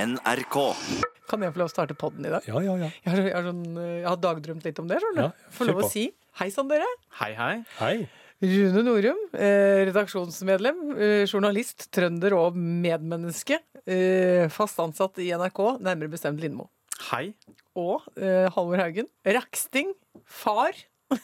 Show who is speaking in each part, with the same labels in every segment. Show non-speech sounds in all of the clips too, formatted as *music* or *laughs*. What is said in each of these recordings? Speaker 1: NRK.
Speaker 2: Kan jeg få lov å starte podden i dag?
Speaker 3: Ja, ja, ja.
Speaker 2: Jeg har, jeg har, sånn, eh, jeg har dagdrømt litt om det. skjønner du?
Speaker 3: Ja,
Speaker 2: Får
Speaker 3: kjør
Speaker 2: lov å
Speaker 3: på.
Speaker 2: si hei sann, dere.
Speaker 4: Hei, hei.
Speaker 3: Hei.
Speaker 2: Rune Norum, eh, redaksjonsmedlem, eh, journalist, trønder og medmenneske. Eh, fast ansatt i NRK, nærmere bestemt Lindmo.
Speaker 4: Hei.
Speaker 2: Og eh, Halvor Haugen. Raksting, far, *laughs*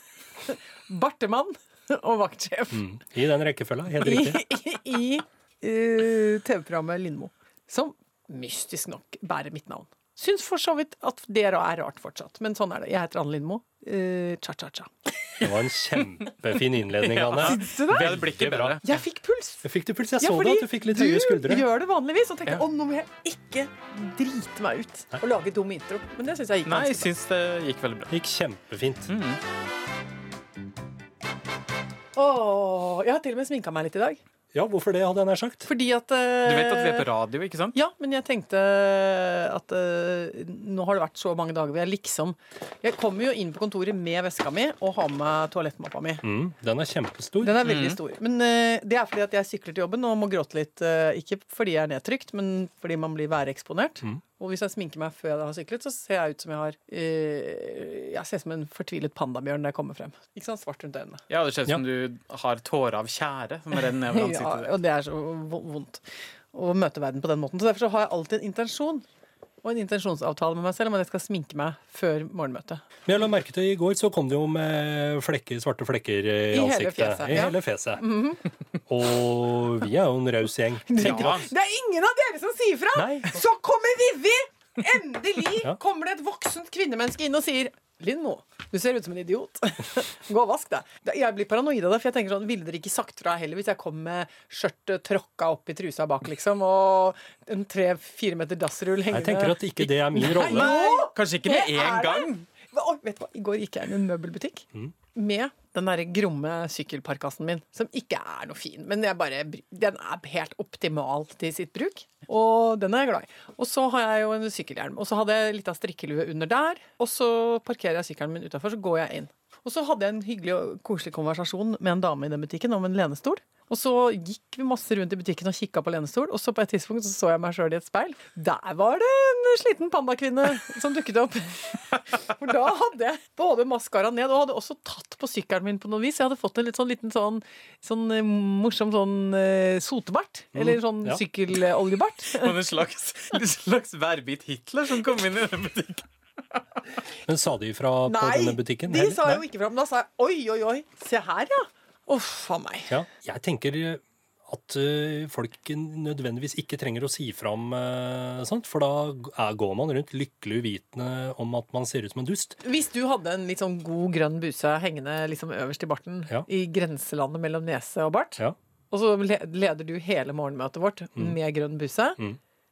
Speaker 2: bartemann og vaktsjef
Speaker 3: Mm. I den rekkefølga, helt
Speaker 2: i, *laughs*
Speaker 3: riktig.
Speaker 2: i, eh, TV-programmet Lindmo. Som mystisk nok bærer mitt navn. Syns for så vidt at det er rart fortsatt, men sånn er det. Jeg heter Anne Lindmo. Eh, Cha-cha-cha.
Speaker 3: Det var en kjempefin
Speaker 2: *laughs*
Speaker 3: innledning, Anne.
Speaker 2: Syns du det?
Speaker 4: Det blir ikke bra.
Speaker 2: Jeg fikk puls!
Speaker 3: Jeg fikk du plutselig, jeg
Speaker 2: Ja,
Speaker 3: så
Speaker 2: fordi
Speaker 3: det, at du fikk litt høye skuldre.
Speaker 2: gjør det vanligvis og tenker
Speaker 3: Ja.
Speaker 2: å, nå må jeg ikke drite meg ut og lage dum intro. Men det syns jeg gikk
Speaker 4: Nei, jeg
Speaker 2: ganske bra.
Speaker 4: syns det gikk veldig bra.
Speaker 3: Gikk kjempefint.
Speaker 2: Mm. Åh, jeg har til og med sminka meg litt i dag.
Speaker 3: Ja, hvorfor det, hadde jeg nær sagt.
Speaker 2: Fordi at eh,
Speaker 4: Du vet at vi er på radio, ikke sant?
Speaker 2: Ja, men jeg tenkte at eh, nå har det vært så mange dager hvor jeg liksom Jeg kommer jo inn på kontoret med veska mi og har med meg toalettmappa mi.
Speaker 3: Mm, den er kjempestor.
Speaker 2: Den er veldig stor. Men eh, det er fordi at jeg sykler til jobben og må gråte litt. eh, ikke fordi jeg er nedtrykt, men fordi man blir væreksponert. Og hvis jeg sminker meg før jeg da har syklet, så ser jeg ut som jeg har eh, Jeg ser ut som en fortvilet pandabjørn når jeg kommer frem. Ikke sant? Svart rundt øynene.
Speaker 4: Ja, det ser ut som du har tårer av tjære som renner nedover
Speaker 2: Ja,
Speaker 4: ansiktet ditt.
Speaker 2: og det er så vo- vondt å møte verden på den måten. Så derfor så har jeg alltid en intensjon og en intensjonsavtale med meg selv om at jeg skal sminke meg før morgenmøtet.
Speaker 3: Men jeg la merke til i går så kom det jo med flekker, svarte flekker eh, i,
Speaker 2: I hele
Speaker 3: ansiktet.
Speaker 2: fjeset,
Speaker 3: I
Speaker 2: ja. Mm-hmm.
Speaker 3: hele fjeset. *laughs* Og vi er jo en raus gjeng. Tenker
Speaker 4: Ja.
Speaker 3: at-
Speaker 2: *laughs* Det er ingen av dere som sier fra!
Speaker 3: Nei.
Speaker 2: Så kommer Vivi! Endelig
Speaker 3: *laughs* Ja.
Speaker 2: kommer det et voksent kvinnemenneske inn og sier Lindmo, du ser ut som en idiot. *laughs* Gå og vask deg. Da- Jeg blir paranoid av det, for jeg tenker sånn, ville dere ikke sagt fra heller hvis jeg kom med skjørtet tråkka opp i trusa bak, liksom, og en tre-fire meter dassrull
Speaker 3: Jeg
Speaker 2: hengende
Speaker 3: tenker at ikke det er min rolle.
Speaker 2: Nei.
Speaker 4: Kanskje ikke med
Speaker 2: Det
Speaker 4: én
Speaker 2: er
Speaker 4: gang.
Speaker 2: det. Hva- Oi, vet du hva? I går gikk jeg inn i en møbelbutikk med den der gromme sykkelparkassen min, som ikke er noe fin, men jeg bare, bry- den er helt optimal til sitt bruk. Og den er jeg glad i. Og så har jeg jo en sykkelhjelm. Og så hadde jeg litt av strikkelue under der. Og så parkerer jeg sykkelen min utafor, så går jeg inn. Og så hadde jeg en hyggelig og koselig konversasjon med en dame i den butikken om en lenestol. Og så gikk vi masse rundt i butikken og kikka på lenestol, og så på et tidspunkt så, så jeg meg sjøl i et speil. Der var det en sliten pandakvinne som dukket opp. *laughs* For da hadde jeg både maskara ned og hadde også tatt på sykkelen min på noe vis. Jeg hadde fått en litt sånn liten sånn, sånn eh, morsom sånn eh, sotebart. Eller sånn
Speaker 3: Mm, ja.
Speaker 2: sykkeloljebart.
Speaker 4: Men en slags, en slags værbit Hitler som kom inn i den butikken.
Speaker 3: Men sa de ifra på denne butikken?
Speaker 2: de
Speaker 3: heller?
Speaker 2: sa
Speaker 3: Nei.
Speaker 2: jo ikke fra, men da sa jeg oi, oi, oi. Se her, ja. Uff a meg.
Speaker 3: Ja, jeg tenker eh, at eh, folk nødvendigvis ikke trenger å si fram, eh, sant? for da g- er, går man rundt lykkelig uvitende om at man ser ut som en dust.
Speaker 2: Hvis du hadde en litt sånn god grønn buse hengende liksom øverst i barten,
Speaker 3: Ja.
Speaker 2: i grenselandet mellom nese og bart,
Speaker 3: Ja.
Speaker 2: og så le- leder du hele morgenmøtet vårt med grønn buse,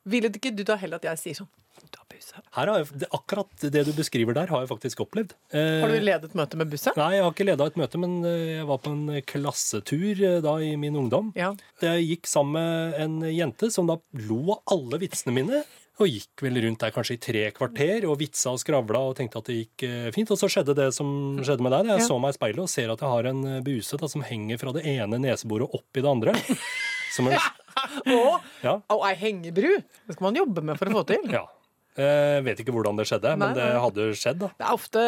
Speaker 2: ville ikke du da heller at jeg sier sånn Du har buse.
Speaker 3: Her har jeg, det, akkurat det du beskriver der, har jeg faktisk opplevd. Eh,
Speaker 2: Har du ledet møte med busse?
Speaker 3: Nei, jeg har ikke leda et møte, men eh, jeg var på en klassetur eh, da i min ungdom.
Speaker 2: Ja.
Speaker 3: Jeg gikk sammen med en jente som da lo av alle vitsene mine. Og gikk vel rundt der kanskje i tre kvarter og vitsa og skravla og tenkte at det gikk eh, fint. Og så skjedde det som skjedde med deg. Jeg
Speaker 2: Ja.
Speaker 3: så meg i speilet og ser at jeg har en eh, buse da, som henger fra det ene neseboret opp i det
Speaker 2: *laughs*
Speaker 3: andre. Som en,
Speaker 2: Og
Speaker 3: ja,
Speaker 2: au, ei hengebru! Det skal man jobbe med for å få
Speaker 3: *laughs*
Speaker 2: til.
Speaker 3: ja. Eh, vet ikke hvordan det skjedde,
Speaker 2: Nei,
Speaker 3: men det
Speaker 2: nei.
Speaker 3: hadde skjedd, da.
Speaker 2: Det er ofte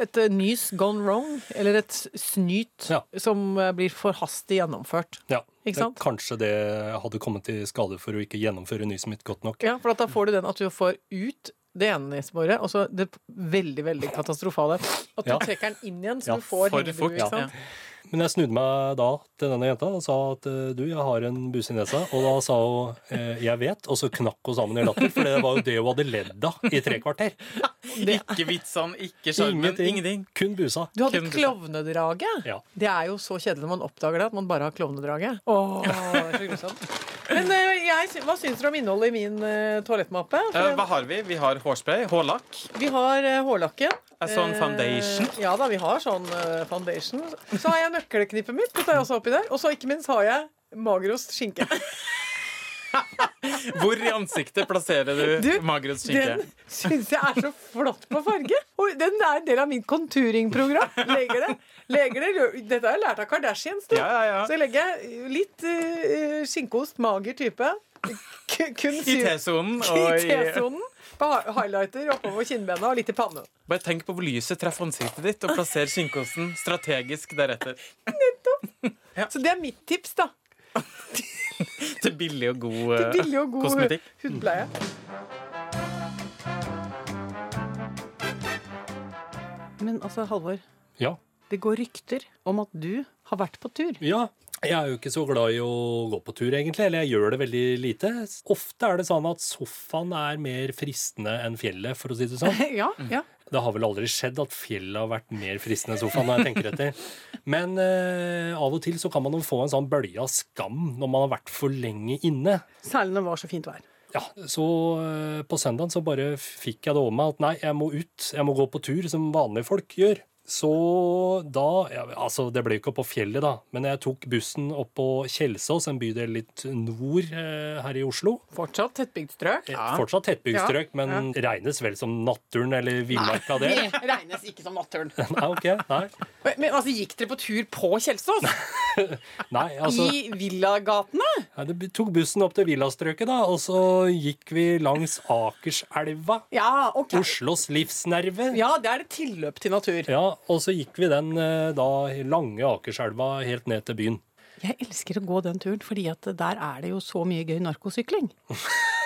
Speaker 2: et eh, nys gone wrong, eller et s- snyt,
Speaker 3: Ja.
Speaker 2: som eh, blir for hastig gjennomført.
Speaker 3: Ja,
Speaker 2: Ikke sant?
Speaker 3: Det, kanskje det hadde kommet til skade for å ikke gjennomføre nyset mitt godt nok.
Speaker 2: Ja, for at da får du den at du får ut det ene neseboret, og så det veldig, veldig katastrofale. At du
Speaker 3: Ja.
Speaker 2: trekker den inn igjen, så
Speaker 3: Ja,
Speaker 2: du får
Speaker 4: For
Speaker 2: hengebru.
Speaker 4: fort.
Speaker 2: Ikke
Speaker 4: Ja.
Speaker 2: sant?
Speaker 3: Men jeg snudde meg da til denne jenta og sa at eh, du, jeg har en buse i nesa. Og da sa hun eh, jeg vet, og så knakk hun sammen i latter, for det var jo det hun hadde ledd av i tre kvarter.
Speaker 4: Ikke vitsene, ikke sjarmen, ingenting.
Speaker 3: Kun busa.
Speaker 2: Du hadde
Speaker 4: Kun bussen.
Speaker 2: klovnedraget.
Speaker 3: Ja.
Speaker 2: Det er jo så kjedelig når man oppdager det, at man bare har klovnedraget. *laughs* Åh, det er så grusomt. Men eh, jeg, sy- hva syns dere om innholdet i min eh, toalettmappe? For
Speaker 4: Eh,
Speaker 2: jeg-
Speaker 4: hva har vi? Vi har hårspray, hårlakk.
Speaker 2: Vi har eh, hårlakken.
Speaker 4: En sånn foundation.
Speaker 2: Eh, ja da, vi har sånn eh, foundation. Så har jeg nøkkelknippet mitt. Det tar jeg også oppi der. Og så ikke minst har jeg magerost skinke.
Speaker 4: Hvor i ansiktet plasserer du,
Speaker 2: Du,
Speaker 4: magerost *laughs* skinke?
Speaker 2: Den syns jeg er så flott på farge. Og den er en del av min konturingprogram. Legger det. Legger det. rød- Dette har jeg lært av Kardashians. Du.
Speaker 4: Ja, ja, ja.
Speaker 2: Så jeg legger jeg litt eh, eh, skinkeost, mager type.
Speaker 1: Ku- Kun
Speaker 4: I
Speaker 1: syv
Speaker 4: T-sonen.
Speaker 1: i
Speaker 4: og i-
Speaker 1: T-sonen. På hi- highlighter oppover kinnbena og litt i pannen.
Speaker 4: Bare tenk på hvor lyset treffer ansiktet ditt, og plasser skinnkosten strategisk deretter.
Speaker 1: Så det er mitt tips, da.
Speaker 4: Til billig og god eh,
Speaker 1: Billig og god hu-
Speaker 4: kosmetikk.
Speaker 1: hudpleie.
Speaker 2: Men altså, Halvor,
Speaker 3: Ja.
Speaker 2: det går rykter om at du har vært på
Speaker 1: *laughs*
Speaker 2: tur.
Speaker 3: Ja, jeg er jo ikke så glad i å gå på tur, egentlig. Eller jeg gjør det veldig lite. Ofte er det sånn at sofaen er mer fristende enn fjellet, for å si det sånn.
Speaker 2: ja,
Speaker 4: Mm.
Speaker 2: ja.
Speaker 3: Det har vel aldri skjedd at fjellet har vært mer fristende enn sofaen, når jeg tenker etter. Men eh, av og til så kan man jo få en sånn bølge av skam når man har vært for lenge inne.
Speaker 2: Særlig når det var så fint vær.
Speaker 3: Ja, så eh, på søndagen så bare fikk jeg det over meg at nei, jeg må ut, jeg må gå på tur som vanlige folk gjør. Så da, ja, altså det ble jo ikke opp på fjellet da, men jeg tok bussen opp på Kjelsås, en bydel litt nord eh, her i Oslo.
Speaker 1: Fortsatt tettbygd strøk.
Speaker 3: Et Fortsatt tettbygdstrøk, men regnes vel som naturen eller villmarka det?
Speaker 2: Det regnes ikke som natturen.
Speaker 3: Nei, ok, nei.
Speaker 1: Men, men altså, gikk dere på tur på Kjelsås?
Speaker 3: Nei, altså,
Speaker 1: I villagatene?
Speaker 3: nei, det tok bussen opp til villastrøket da, og så gikk vi langs Akerselva,
Speaker 1: Ja, OK.
Speaker 3: Oslos livsnerve.
Speaker 1: Ja, det er et tilløp til natur.
Speaker 3: Ja, og så gikk vi den eh, da lange Akerselva helt ned til byen.
Speaker 2: Jeg elsker å gå den turen, fordi at der er det jo så mye gøy narkosykling.
Speaker 3: *laughs*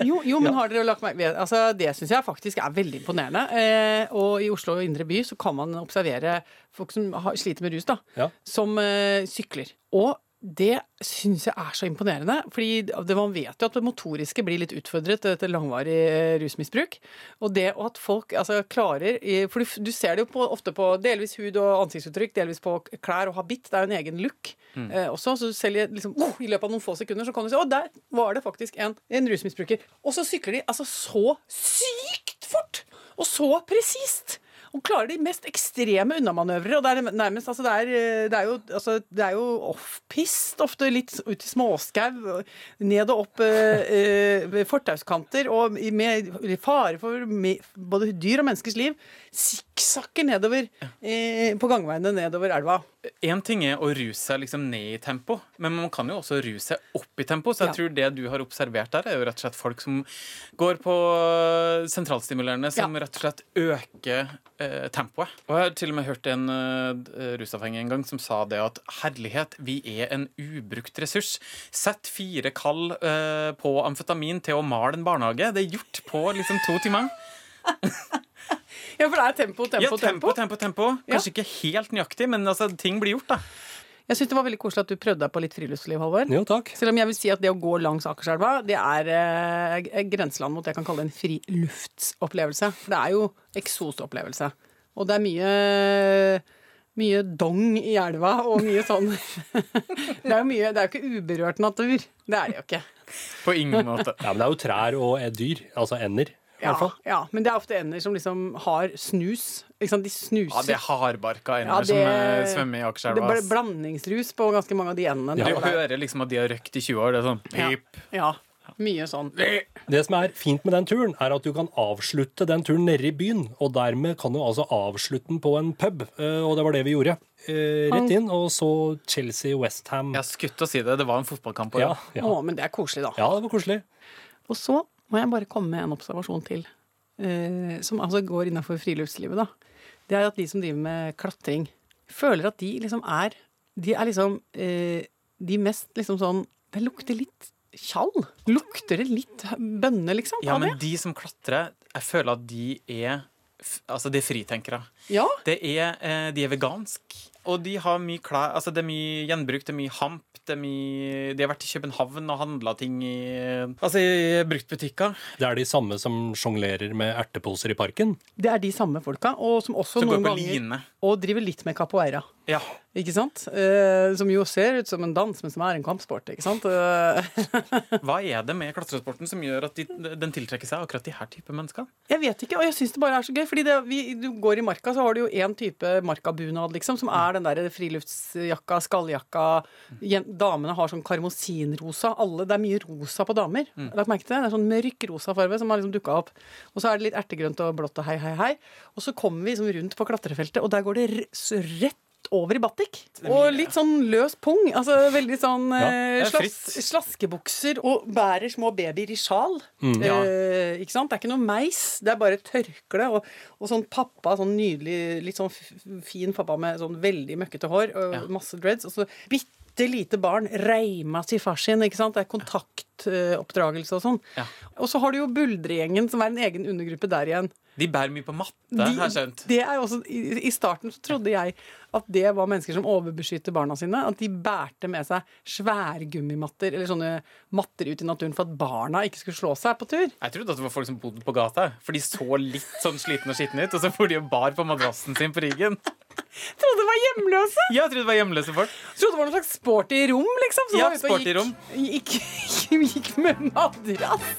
Speaker 2: Jo, jo men har dere lagt merke altså, Det syns jeg faktisk er veldig imponerende. Eh, og i Oslo indre by så kan man observere folk som har, sliter med rus, da,
Speaker 3: Ja.
Speaker 2: som eh, sykler. Og det syns jeg er så imponerende. fordi det, man vet jo at det motoriske blir litt utfordret etter langvarig eh, rusmisbruk. Og det og at folk altså, klarer i- For du, f- du ser det jo på, ofte på delvis hud og ansiktsuttrykk, delvis på k- klær og habitt. Det er jo en egen look eh, også. Så selv i, liksom, oh, i løpet av noen få sekunder så kan du si Å, der var det faktisk en, en rusmisbruker. Og så sykler de altså så sykt fort! Og så presist! Hun klarer de mest ekstreme unnamanøvrer. Og det er nærmest altså det, er, eh, det er jo, altså, det er jo off-pist, ofte litt ut i småskau. og Ned og opp eh, eh, ved fortauskanter, og i- med fare for me- både dyr og menneskers liv. Sikksakker nedover eh, på gangveiene nedover elva.
Speaker 4: Én ting er å ruse seg liksom ned i tempo, men man kan jo også ruse seg opp i tempo. Så jeg
Speaker 2: Ja.
Speaker 4: tror det du har observert der, er jo rett og slett folk som går på sentralstimulerende, som rett og slett øker eh, tempoet. Og jeg har til og med hørt en eh, rusavhengig en gang som sa det at herlighet, vi er en ubrukt ressurs. Sett fire kall eh, på amfetamin til å male en barnehage. Det er gjort på liksom to timer.
Speaker 2: Ja, for det er tempo, tempo,
Speaker 4: Ja,
Speaker 2: tempo.
Speaker 4: tempo, tempo, tempo. Kanskje ikke helt nøyaktig, men altså, ting blir gjort, da.
Speaker 2: Jeg syns det var veldig koselig at du prøvde deg på litt friluftsliv, Halvor.
Speaker 3: Jo, takk.
Speaker 2: Selv om jeg vil si at det å gå langs Akerselva, det er eh, grenseland mot det jeg kan kalle en friluftsopplevelse. For det er jo eksosopplevelse. Og det er mye mye dong i elva og mye sånn *laughs* Det er jo mye, det er jo ikke uberørt natur. Det er det jo ikke.
Speaker 4: På ingen måte.
Speaker 3: Ja, men det er jo trær og eh, dyr, altså ender, i
Speaker 2: Ja,
Speaker 3: hvert fall.
Speaker 2: ja, men det er ofte ender som liksom har snus. Ikke sant? De snuser.
Speaker 4: Ja, det er hardbarka ender
Speaker 2: Ja, det-
Speaker 4: som eh, svømmer i
Speaker 2: det
Speaker 4: Akerselva.
Speaker 2: blir
Speaker 4: ass.
Speaker 2: blandingsrus på ganske mange av de endene.
Speaker 4: Du
Speaker 2: der.
Speaker 4: hører liksom at de har røkt i 20 år. Det er sånn pip.
Speaker 2: Ja, mye sånn.
Speaker 3: Det som er fint med den turen, er at du kan avslutte den turen nede i byen, og dermed kan du altså avslutte den på en pub, eh, og det var det vi gjorde. Eh, Rett inn, og så Chelsea-Westham.
Speaker 4: Jeg har skutt å si det. Det var en fotballkamp.
Speaker 3: Ja,
Speaker 4: Ja.
Speaker 3: ja.
Speaker 2: Å, men det er koselig, da.
Speaker 3: ja, det var koselig.
Speaker 2: Og så må jeg bare komme med en observasjon til, eh, som altså går innenfor friluftslivet. da. Det er at de som driver med klatring, føler at de liksom er De er liksom eh, de mest liksom sånn Det lukter litt tjall. Lukter det litt bønne, liksom?
Speaker 4: ja,
Speaker 2: av
Speaker 4: men
Speaker 2: det?
Speaker 4: de som klatrer, jeg føler at de er f- Altså, de er fritenkere.
Speaker 2: Ja,
Speaker 4: Det er, eh, de er veganske. Og de har mye klær, altså det er mye gjenbruk, det er mye hamp. Det er mye, de har vært i København og handla ting i Altså i bruktbutikker.
Speaker 3: Det er de samme som sjonglerer med erteposer i parken.
Speaker 2: det er de samme folka, og som også
Speaker 4: Som går
Speaker 2: noen
Speaker 4: på
Speaker 2: ganger
Speaker 4: line.
Speaker 2: Og driver litt med capoeira.
Speaker 4: Ja.
Speaker 2: Ikke sant? Eh, som jo ser ut som en dans, men som er en kampsport. ikke sant? Eh,
Speaker 4: Hva er det med klatresporten som gjør at de, den tiltrekker seg akkurat de her type mennesker?
Speaker 2: Jeg vet ikke, og jeg syns det bare er så gøy. Fordi det, vi, du går i marka, så har du jo én type markabunad, liksom, som er den der friluftsjakka, skalljakka jen- Damene har sånn karmosinrosa. Alle, det er mye rosa på damer.
Speaker 4: Mm.
Speaker 2: Har du Lagt merke til det? Det er sånn mørk rosa farge som har liksom dukka opp. Og så er det litt ertegrønt og blått og hei, hei, hei. Og så kommer vi liksom rundt på klatrefeltet, og der går det r- s- rett rett over i batik. Og litt sånn løs pung. Altså veldig sånn eh,
Speaker 4: det er
Speaker 2: slas, slaskebukser. Og bærer små babyer i sjal.
Speaker 4: Mm. Ja.
Speaker 2: Eh, ikke sant? Det er ikke noe meis, det er bare et tørkle. Og, og sånn pappa, sånn nydelig, litt sånn f- fin pappa med sånn veldig møkkete hår og
Speaker 4: Ja.
Speaker 2: masse dreads. Og så bitte lite barn, reima til far sin, ikke sant? Det er kontaktoppdragelse og sånn.
Speaker 4: Ja.
Speaker 2: Og så har du jo Buldregjengen, som er en egen undergruppe der igjen.
Speaker 4: De bærer mye på matte,
Speaker 2: De-
Speaker 4: har jeg skjønt.
Speaker 2: Det er jo også, i, I starten så trodde jeg at det var mennesker som overbeskytter barna sine. At de bærte med seg svære gummimatter eller sånne matter ut i naturen for at barna ikke skulle slå seg på tur.
Speaker 4: Jeg trodde at det var folk som bodde på gata, for de så litt sånn slitne og skitne ut, og så for de og bar på madrassen sin på ryggen.
Speaker 2: Jeg trodde det var hjemløse!
Speaker 4: Jeg trodde det var hjemløse folk.
Speaker 2: Jeg trodde det var noe slags sporty rom, liksom.
Speaker 4: Ja,
Speaker 2: var ute og
Speaker 4: sporty
Speaker 2: gikk-
Speaker 4: rom.
Speaker 2: Gikk, gikk, gikk med madrass.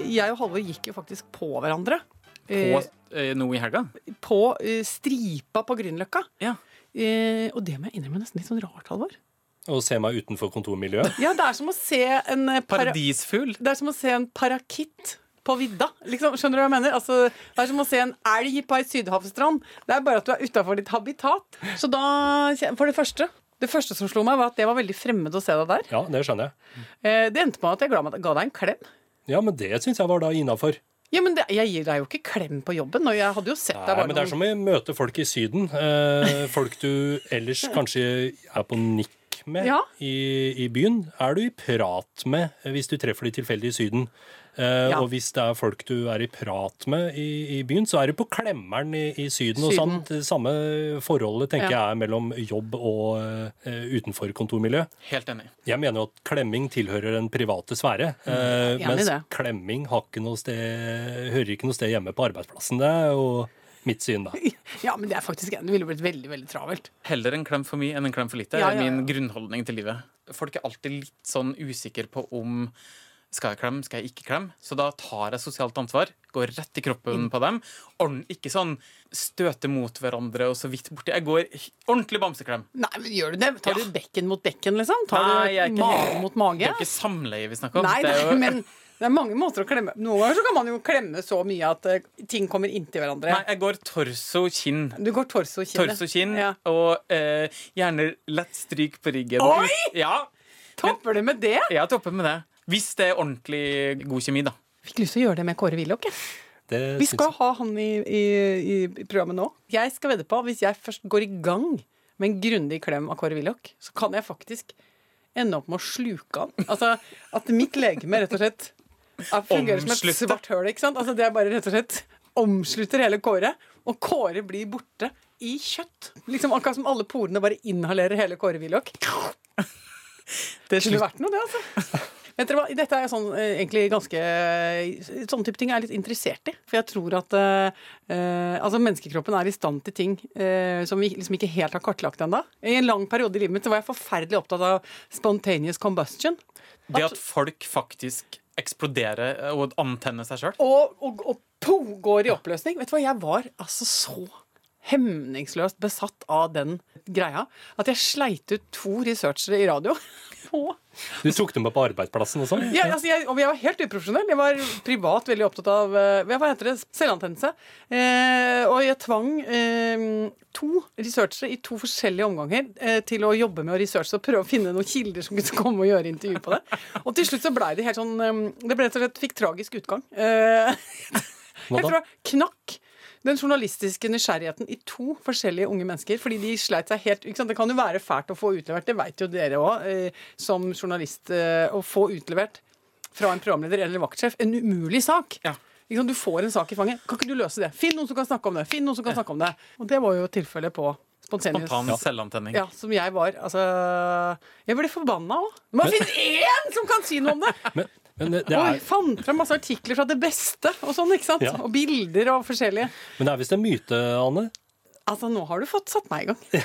Speaker 2: Jeg og Halvor gikk jo faktisk på hverandre.
Speaker 4: På
Speaker 2: Eh,
Speaker 4: eh, noe i helga.
Speaker 2: på eh, stripa på Grünerløkka.
Speaker 4: Ja.
Speaker 2: Eh, og det må jeg innrømme nesten litt sånn rart, Halvor.
Speaker 3: Og se meg utenfor kontormiljøet.
Speaker 2: Ja, det er som å se en eh, para
Speaker 4: Paradisfugl.
Speaker 2: Det er som å se en parakitt på vidda. Liksom, skjønner du hva jeg mener? Altså, det er som å se en elg på ei sydhavsstrand. Det er bare at du er utafor ditt habitat. Så da For det første. Det første som slo meg, var at det var veldig fremmed å se deg der.
Speaker 3: Ja, det skjønner jeg.
Speaker 2: Eh, Det endte med at jeg ga meg- ga deg en klem.
Speaker 3: Ja, men det syns jeg var da innafor.
Speaker 2: Ja, men det, Jeg gir deg jo ikke klem på jobben. Og jeg hadde jo sett deg
Speaker 3: Nei,
Speaker 2: bare
Speaker 3: men det er som å møte folk i Syden. Eh, folk du ellers kanskje er på nikk med
Speaker 2: Ja.
Speaker 3: i, i byen, er du i prat med eh, hvis du treffer de tilfeldig i Syden. Eh,
Speaker 2: Ja.
Speaker 3: Og hvis det er folk du er i prat med i, i byen, så er du på klemmeren i, i Syden. Og
Speaker 2: Syden.
Speaker 3: sånn, det samme forholdet tenker
Speaker 2: Ja.
Speaker 3: jeg er mellom jobb og eh, utenfor kontormiljø.
Speaker 4: Helt enig.
Speaker 3: Jeg mener jo at klemming tilhører den private sfære. Eh,
Speaker 2: Mm. enig i
Speaker 3: mens
Speaker 2: det.
Speaker 3: klemming har ikke noe sted, hører ikke noe sted hjemme på arbeidsplassen. Det er jo mitt
Speaker 2: *laughs*
Speaker 3: syn, da.
Speaker 2: Ja, men det er faktisk Det ville blitt veldig, veldig travelt.
Speaker 4: Heller en klem for mye enn en klem for lite.
Speaker 2: Ja,
Speaker 4: er
Speaker 2: ja, ja.
Speaker 4: Min grunnholdning til livet. Folk er alltid litt sånn usikker på om skal jeg klemme, skal jeg ikke klemme? Så da tar jeg sosialt ansvar, går rett i kroppen på dem. Ordn- Ikke sånn støte mot hverandre og så vidt borti. Jeg går h- ordentlig bamseklem.
Speaker 2: Nei, men Gjør du det? Tar
Speaker 4: Ja.
Speaker 2: du bekken mot bekken, liksom? Tar
Speaker 4: Nei, jeg er
Speaker 2: du
Speaker 4: ikke-
Speaker 2: mage mot mage?
Speaker 4: Det er jo ikke samleie vi snakker om.
Speaker 2: Nei,
Speaker 4: det er jo...
Speaker 2: nei, men det er mange måter å klemme Noen ganger så kan man jo klemme så mye at eh, ting kommer inntil hverandre.
Speaker 4: Nei, jeg går torso, kinn.
Speaker 2: Du går torso og kinn.
Speaker 4: Torso, kinn
Speaker 2: Ja.
Speaker 4: og eh, gjerne lett stryk på ryggen.
Speaker 2: Oi!
Speaker 4: Ja,
Speaker 2: Topper du med det?
Speaker 4: jeg topper med det. Hvis det er ordentlig god kjemi, da.
Speaker 2: Fikk lyst til å gjøre det med Kåre Willoch. jeg.
Speaker 3: Det
Speaker 2: Vi
Speaker 3: syns
Speaker 2: skal ha han i, i, i programmet nå. Jeg skal vedde på at hvis jeg først går i gang med en grundig klem av Kåre Willoch, så kan jeg faktisk ende opp med å sluke han. Altså at mitt legeme rett og slett er- fungerer som et
Speaker 4: Omslutter.
Speaker 2: svart høl. ikke sant? Altså Det er bare rett og slett omslutter hele Kåre, og Kåre blir borte i kjøtt. Liksom Akkurat som alle porene bare inhalerer hele Kåre Willoch. Det skulle vært noe, det, altså. Vet dere hva, dette er jeg sånn, eh, egentlig ganske Sånne type ting er jeg litt interessert i. For jeg tror at eh, eh, altså menneskekroppen er i stand til ting eh, som vi liksom ikke helt har kartlagt ennå. I en lang periode i livet mitt så var jeg forferdelig opptatt av spontaneous combustion.
Speaker 4: Det at folk faktisk eksploderer og antenner seg sjøl.
Speaker 2: Og, og, og po, går i oppløsning. Vet du hva, jeg var altså så hemningsløst besatt av den greia at jeg sleit ut to researchere i radio. På
Speaker 3: jeg. Du tok dem med på arbeidsplassen også?
Speaker 2: Ja, altså jeg, og jeg var helt uprofesjonell. Jeg var privat veldig opptatt av eh, hva heter det, selvantennelse. Eh, og jeg tvang eh, to researchere i to forskjellige omganger eh, til å jobbe med å researche og prøve å finne noen kilder som kunne komme og gjøre intervju på det. Og til slutt så blei det helt sånn eh, Det ble rett og slett fikk tragisk utgang. Eh, *laughs*
Speaker 3: Hva
Speaker 2: jeg
Speaker 3: da?
Speaker 2: tror jeg knakk den journalistiske nysgjerrigheten i to forskjellige unge mennesker. Fordi de sleit seg helt ikke sant? Det kan jo være fælt å få utlevert, det veit jo dere òg, som journalist. eh, Å få utlevert fra en programleder eller vaktsjef en umulig sak.
Speaker 4: Ja.
Speaker 2: Ikke sant? Du får en sak i fanget. Kan ikke du løse det? Finn noen som kan snakke om det! Finn noen som kan snakke om det. Og det var jo tilfellet på Spontaneous.
Speaker 4: Spontan selvantenning.
Speaker 2: Ja, som jeg var. Altså Jeg ble forbanna òg. Må finne én som kan si noe om det!
Speaker 3: Men, men, det- det
Speaker 2: Og
Speaker 3: er,
Speaker 2: jeg fant fram masse artikler fra det beste og sånn, ikke sant?
Speaker 3: Ja.
Speaker 2: Og bilder og forskjellige.
Speaker 3: men det er visst en myte, Anne?
Speaker 2: Altså, nå har du fått satt meg i gang.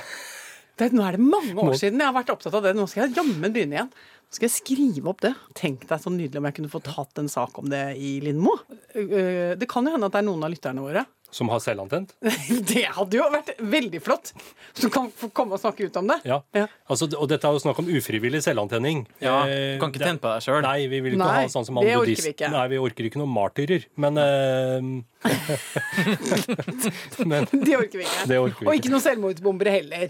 Speaker 2: Det, nå er det mange år
Speaker 3: Må-
Speaker 2: siden jeg har vært opptatt av det. Nå skal jeg jammen begynne igjen. Nå skal jeg skrive opp det. Tenk deg så Eh, nydelig om jeg kunne fått hatt en sak om det i Lindmo. Øh, Det kan jo hende at det er noen av lytterne våre *laughs*
Speaker 3: som har selvantent.
Speaker 2: Det hadde jo vært veldig flott! Så du kan få komme og snakke ut om det.
Speaker 3: Ja.
Speaker 2: Ja.
Speaker 3: Altså, og dette er jo snakk om ufrivillig selvantenning.
Speaker 4: Ja,
Speaker 3: Eh,
Speaker 4: du kan ikke
Speaker 3: det-
Speaker 4: tenne på deg sjøl.
Speaker 3: Nei, vi vil ikke
Speaker 2: Nei,
Speaker 3: ha sånn som
Speaker 2: det
Speaker 3: alle
Speaker 2: orker vi
Speaker 3: buddhister.
Speaker 2: ikke.
Speaker 3: Nei, vi orker ikke noen martyrer. Men, eh, men
Speaker 2: Det orker vi ikke.
Speaker 3: det orker
Speaker 2: Og
Speaker 3: vi ikke.
Speaker 2: ikke noen selvmordsbombere heller.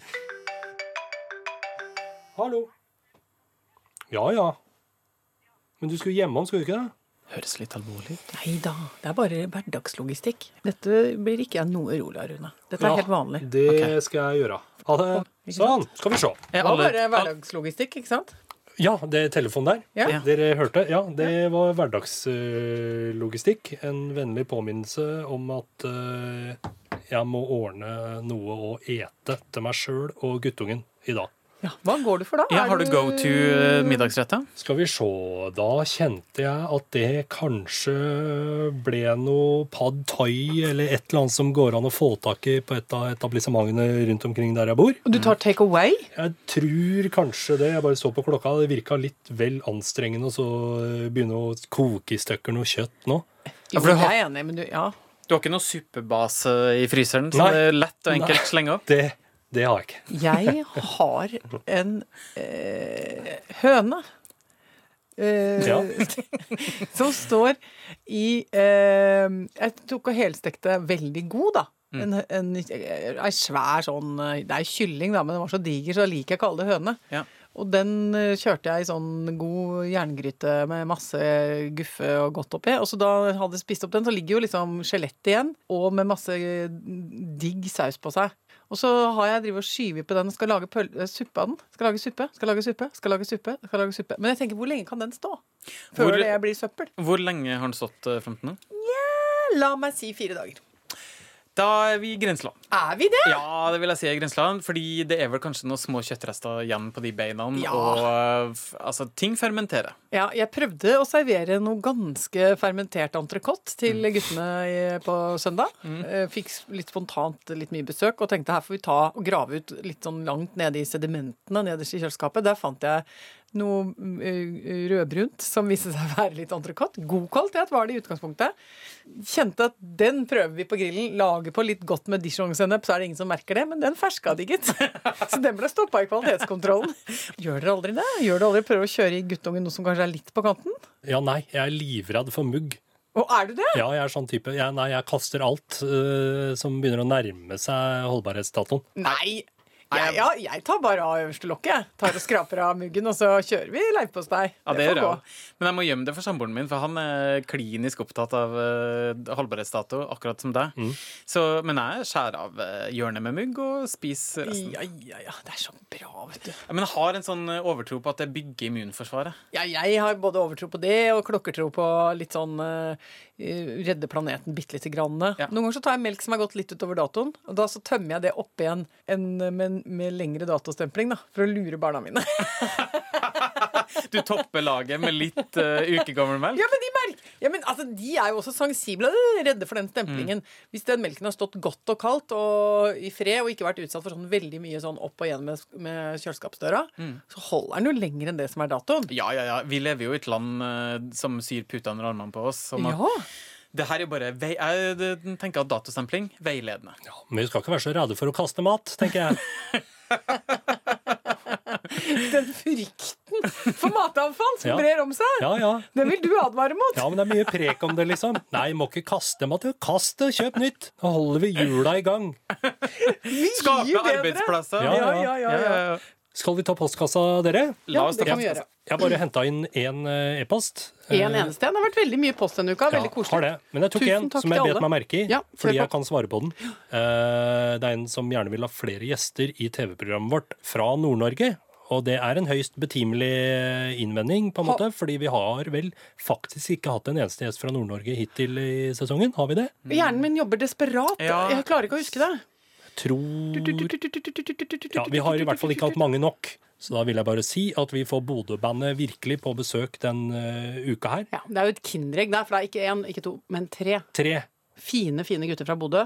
Speaker 3: Hallo. Ja ja. Men du skulle hjemom, skulle du ikke det?
Speaker 4: Høres litt alvorlig ut.
Speaker 2: Nei da, det er bare hverdagslogistikk. Dette blir ikke jeg noe urolig av, Rune. Dette er
Speaker 3: Ja.
Speaker 2: helt vanlig.
Speaker 3: Det skal jeg gjøre. Ha det. Sånn, skal vi se.
Speaker 2: Det var bare hverdagslogistikk, ikke sant?
Speaker 3: Ja, det er telefonen der.
Speaker 2: Ja.
Speaker 4: Ja.
Speaker 3: Dere hørte. Ja, det var hverdagslogistikk. En vennlig påminnelse om at eh, jeg må ordne noe å ete til meg sjøl og guttungen i dag.
Speaker 2: Ja. Hva går du for da?
Speaker 4: Ja,
Speaker 2: Er
Speaker 4: har du go to eh, middagsrett, da?
Speaker 3: Skal vi se. Da kjente jeg at det kanskje ble noe pad thai eller et eller annet som går an å få tak i på et av etablissementene rundt omkring der jeg bor.
Speaker 2: Du tar take away?
Speaker 3: Jeg tror kanskje det. Jeg bare så på klokka. Det virka litt vel anstrengende å så eh, begynne å koke i stykker noe kjøtt nå.
Speaker 2: Jo,
Speaker 4: for du har-
Speaker 2: jeg er enig, men du Ja.
Speaker 4: Du har ikke noe suppebase i fryseren, så
Speaker 3: Nei.
Speaker 4: det er lett og enkelt å slenge opp?
Speaker 3: Det, det har jeg ikke.
Speaker 2: Jeg har en eh, høne. Eh,
Speaker 3: Ja.
Speaker 2: *laughs* som står i eh, Jeg tok og helstekte veldig god, da.
Speaker 4: Mm.
Speaker 2: En, en, ei svær sånn eh, Det er kylling, da, men den var så diger, så da liker jeg å kalle det høne.
Speaker 4: Ja.
Speaker 2: Og den eh, kjørte jeg i sånn god jerngryte med masse guffe og godt oppi. Og så da jeg hadde spist opp den, så ligger jo liksom skjelettet igjen, og med masse eh, digg saus på seg. Og så har jeg drivet og skyvet på den og skal lage pøl eh, suppe av den. Skal lage suppe, skal lage suppe, skal lage suppe. skal lage suppe. Men jeg tenker, hvor lenge kan den stå? Før
Speaker 4: Hvor-
Speaker 2: det blir søppel?
Speaker 4: Hvor lenge har den stått eh, frem til nå?
Speaker 2: La meg si fire dager.
Speaker 4: Da er vi i grenseland.
Speaker 2: Er vi det?
Speaker 4: Ja, det vil jeg si er grenseland, fordi det er vel kanskje noen små kjøttrester igjen på de beina.
Speaker 2: Ja.
Speaker 4: Og eh, f- altså, ting fermenterer.
Speaker 2: Ja, jeg prøvde å servere noe ganske fermentert entrecôte til guttene i, på søndag. Eh, Fikk s- litt spontant litt mye besøk og tenkte her får vi ta og grave ut litt sånn langt nede i sedimentene nederst i kjøleskapet. Der fant jeg noe mm, eh, rødbrunt som viste seg *laughs* å være litt entrecôte. God kvalitet var det i utgangspunktet. Kjente at den prøver vi på grillen. Lager på litt godt med dijon-sennep, så er det ingen som merker det. Men den ferska de, gitt. Så den ble stoppa i kvalitetskontrollen. *laughs* Gjør dere aldri det? Gjør dere aldri prøver å kjøre i guttungen noe som kanskje er litt på kanten?
Speaker 3: Ja, nei, jeg er livredd for mugg.
Speaker 2: Og er du det?
Speaker 3: Ja, jeg er sånn type. Jeg, nei, jeg kaster alt eh, som begynner å nærme seg holdbarhetsdatoen.
Speaker 2: Nei. Jeg, ja, jeg tar bare av øverste lokket. jeg. Tar og skraper av muggen, og så kjører vi leirpostei.
Speaker 4: Ja, det
Speaker 2: får
Speaker 4: gjør jeg
Speaker 2: gå.
Speaker 4: også. Men jeg må gjemme det for samboeren min, for han er klinisk opptatt av eh, holdbarhetsdato, akkurat som deg.
Speaker 2: Mm.
Speaker 4: Så, men jeg skjærer av eh, hjørnet med mugg og spiser resten.
Speaker 2: Ja, ja, ja. Det er så bra, vet du.
Speaker 4: Men jeg har en sånn overtro på at det bygger immunforsvaret.
Speaker 2: Ja, jeg har både overtro på det og klokkertro på litt sånn eh, redde planeten bitte lite grann.
Speaker 4: Ja.
Speaker 2: Noen ganger så tar jeg melk som er gått litt utover datoen, og da så tømmer jeg det opp igjen en, med, med lengre datostempling, da, for å lure barna mine.
Speaker 4: Du topper laget med litt uh, ukegammel melk.
Speaker 2: ja, men de merker ja, men, altså, De er jo også sensible, øh, redde for den stemplingen. Hvis den melken har stått godt og kaldt og i fred og ikke vært utsatt for sånn veldig mye sånn opp og igjen med, med kjøleskapsdøra, så holder den jo lenger enn det som er datoen.
Speaker 4: Ja, ja, ja. Vi lever jo i et land eh, som syr puta under armene på oss. Som at,
Speaker 2: Ja.
Speaker 4: Det her er jo bare vei, Jeg eh, tenker at datostempling veiledende.
Speaker 3: Ja, men vi skal ikke være så redde for å kaste mat, tenker jeg.
Speaker 2: Den *laughs* frykten for matavfall som
Speaker 3: Ja.
Speaker 2: brer om seg.
Speaker 3: Ja, ja.
Speaker 2: Den vil du advare mot. *laughs*
Speaker 3: Ja, men det er mye prek om det, liksom. Nei, må ikke kaste mat. Jo, Kast det, kjøp nytt. Da holder vi hjula i gang.
Speaker 4: Skape
Speaker 2: bedre.
Speaker 4: arbeidsplasser.
Speaker 2: Ja, ja, ja. ja,
Speaker 4: Ja, ja, ja.
Speaker 3: Skal vi ta postkassa, dere?
Speaker 2: Ja,
Speaker 4: Eh, La oss
Speaker 2: det
Speaker 4: ta
Speaker 2: kan vi
Speaker 4: post.
Speaker 2: gjøre.
Speaker 3: Jeg har bare henta inn én eh, e-post.
Speaker 2: En eneste en. Det har vært veldig mye post denne uka.
Speaker 3: Ja,
Speaker 2: Veldig
Speaker 3: har
Speaker 2: koselig.
Speaker 3: det. Men jeg tok
Speaker 2: Tusen
Speaker 3: en
Speaker 2: takk
Speaker 3: som
Speaker 2: til
Speaker 3: jeg bet
Speaker 2: alle.
Speaker 3: meg merke i,
Speaker 2: Ja, kjør
Speaker 3: fordi
Speaker 2: på.
Speaker 3: jeg kan svare på den. Eh, det er en som gjerne vil ha flere gjester i TV-programmet vårt fra Nord-Norge. Og det er en høyst betimelig innvending, på en måte, fordi vi har vel faktisk ikke hatt en eneste gjest fra Nord-Norge hittil i sesongen. Har vi det?
Speaker 2: Hjernen min jobber desperat.
Speaker 4: Ja.
Speaker 2: Jeg klarer ikke å huske det.
Speaker 3: Tror Ja, vi har i hvert fall ikke hatt mange nok. Så da vil jeg bare si at vi får Bodø-bandet virkelig på besøk den eh, uka her.
Speaker 2: Ja, det er jo et kinderegg der, for det er ikke én, ikke to, men tre
Speaker 3: Tre.
Speaker 2: fine, fine gutter fra Bodø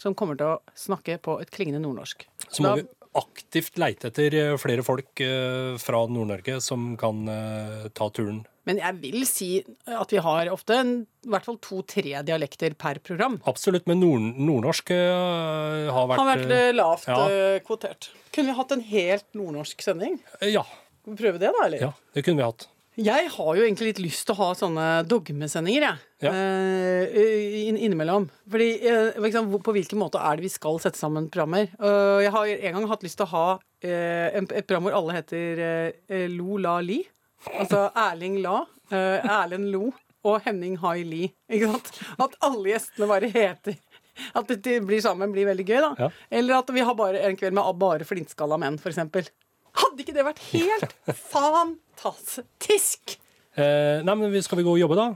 Speaker 2: som kommer til å snakke på et klingende nordnorsk.
Speaker 3: Så må
Speaker 2: Da-
Speaker 3: vi aktivt leite etter eh, flere folk eh, fra Nord-Norge som kan eh, ta turen
Speaker 2: Men jeg vil si at vi har ofte en, i hvert fall to-tre dialekter per program.
Speaker 3: Absolutt, men nord nordnorsk øh, har vært
Speaker 2: Har vært
Speaker 3: øh,
Speaker 2: eh, lavt
Speaker 3: ja.
Speaker 2: eh, kvotert. Kunne vi hatt en helt nordnorsk sending?
Speaker 3: Ja.
Speaker 2: Skal vi prøve det, da? eller?
Speaker 3: ja. Det kunne vi hatt.
Speaker 2: Jeg har jo egentlig litt lyst til å ha sånne dogmesendinger, jeg.
Speaker 3: Ja.
Speaker 2: Eh, inn- innimellom. Fordi eh, liksom, hvor- på hvilken måte er det vi skal sette sammen programmer? Eh, jeg har en gang hatt lyst til å ha eh, en, et program hvor alle heter eh, Lo La Li. Altså Erling La, eh, Erlend Lo og Henning Hai Li. Ikke sant? At alle gjestene bare heter At de blir sammen, blir veldig gøy, da.
Speaker 3: Ja.
Speaker 2: Eller at vi har bare en kveld med bare flintskalla menn, f.eks. Hadde ikke det vært helt fantastisk?
Speaker 3: Eh, nei, men vi- skal vi gå og jobbe, da?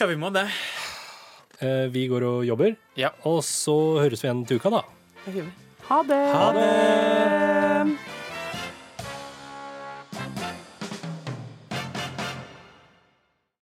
Speaker 4: Ja, vi må det.
Speaker 3: Eh, vi går og jobber.
Speaker 4: Ja.
Speaker 3: Og så høres vi igjen til uka, da.
Speaker 2: Ha det!
Speaker 3: Ha det!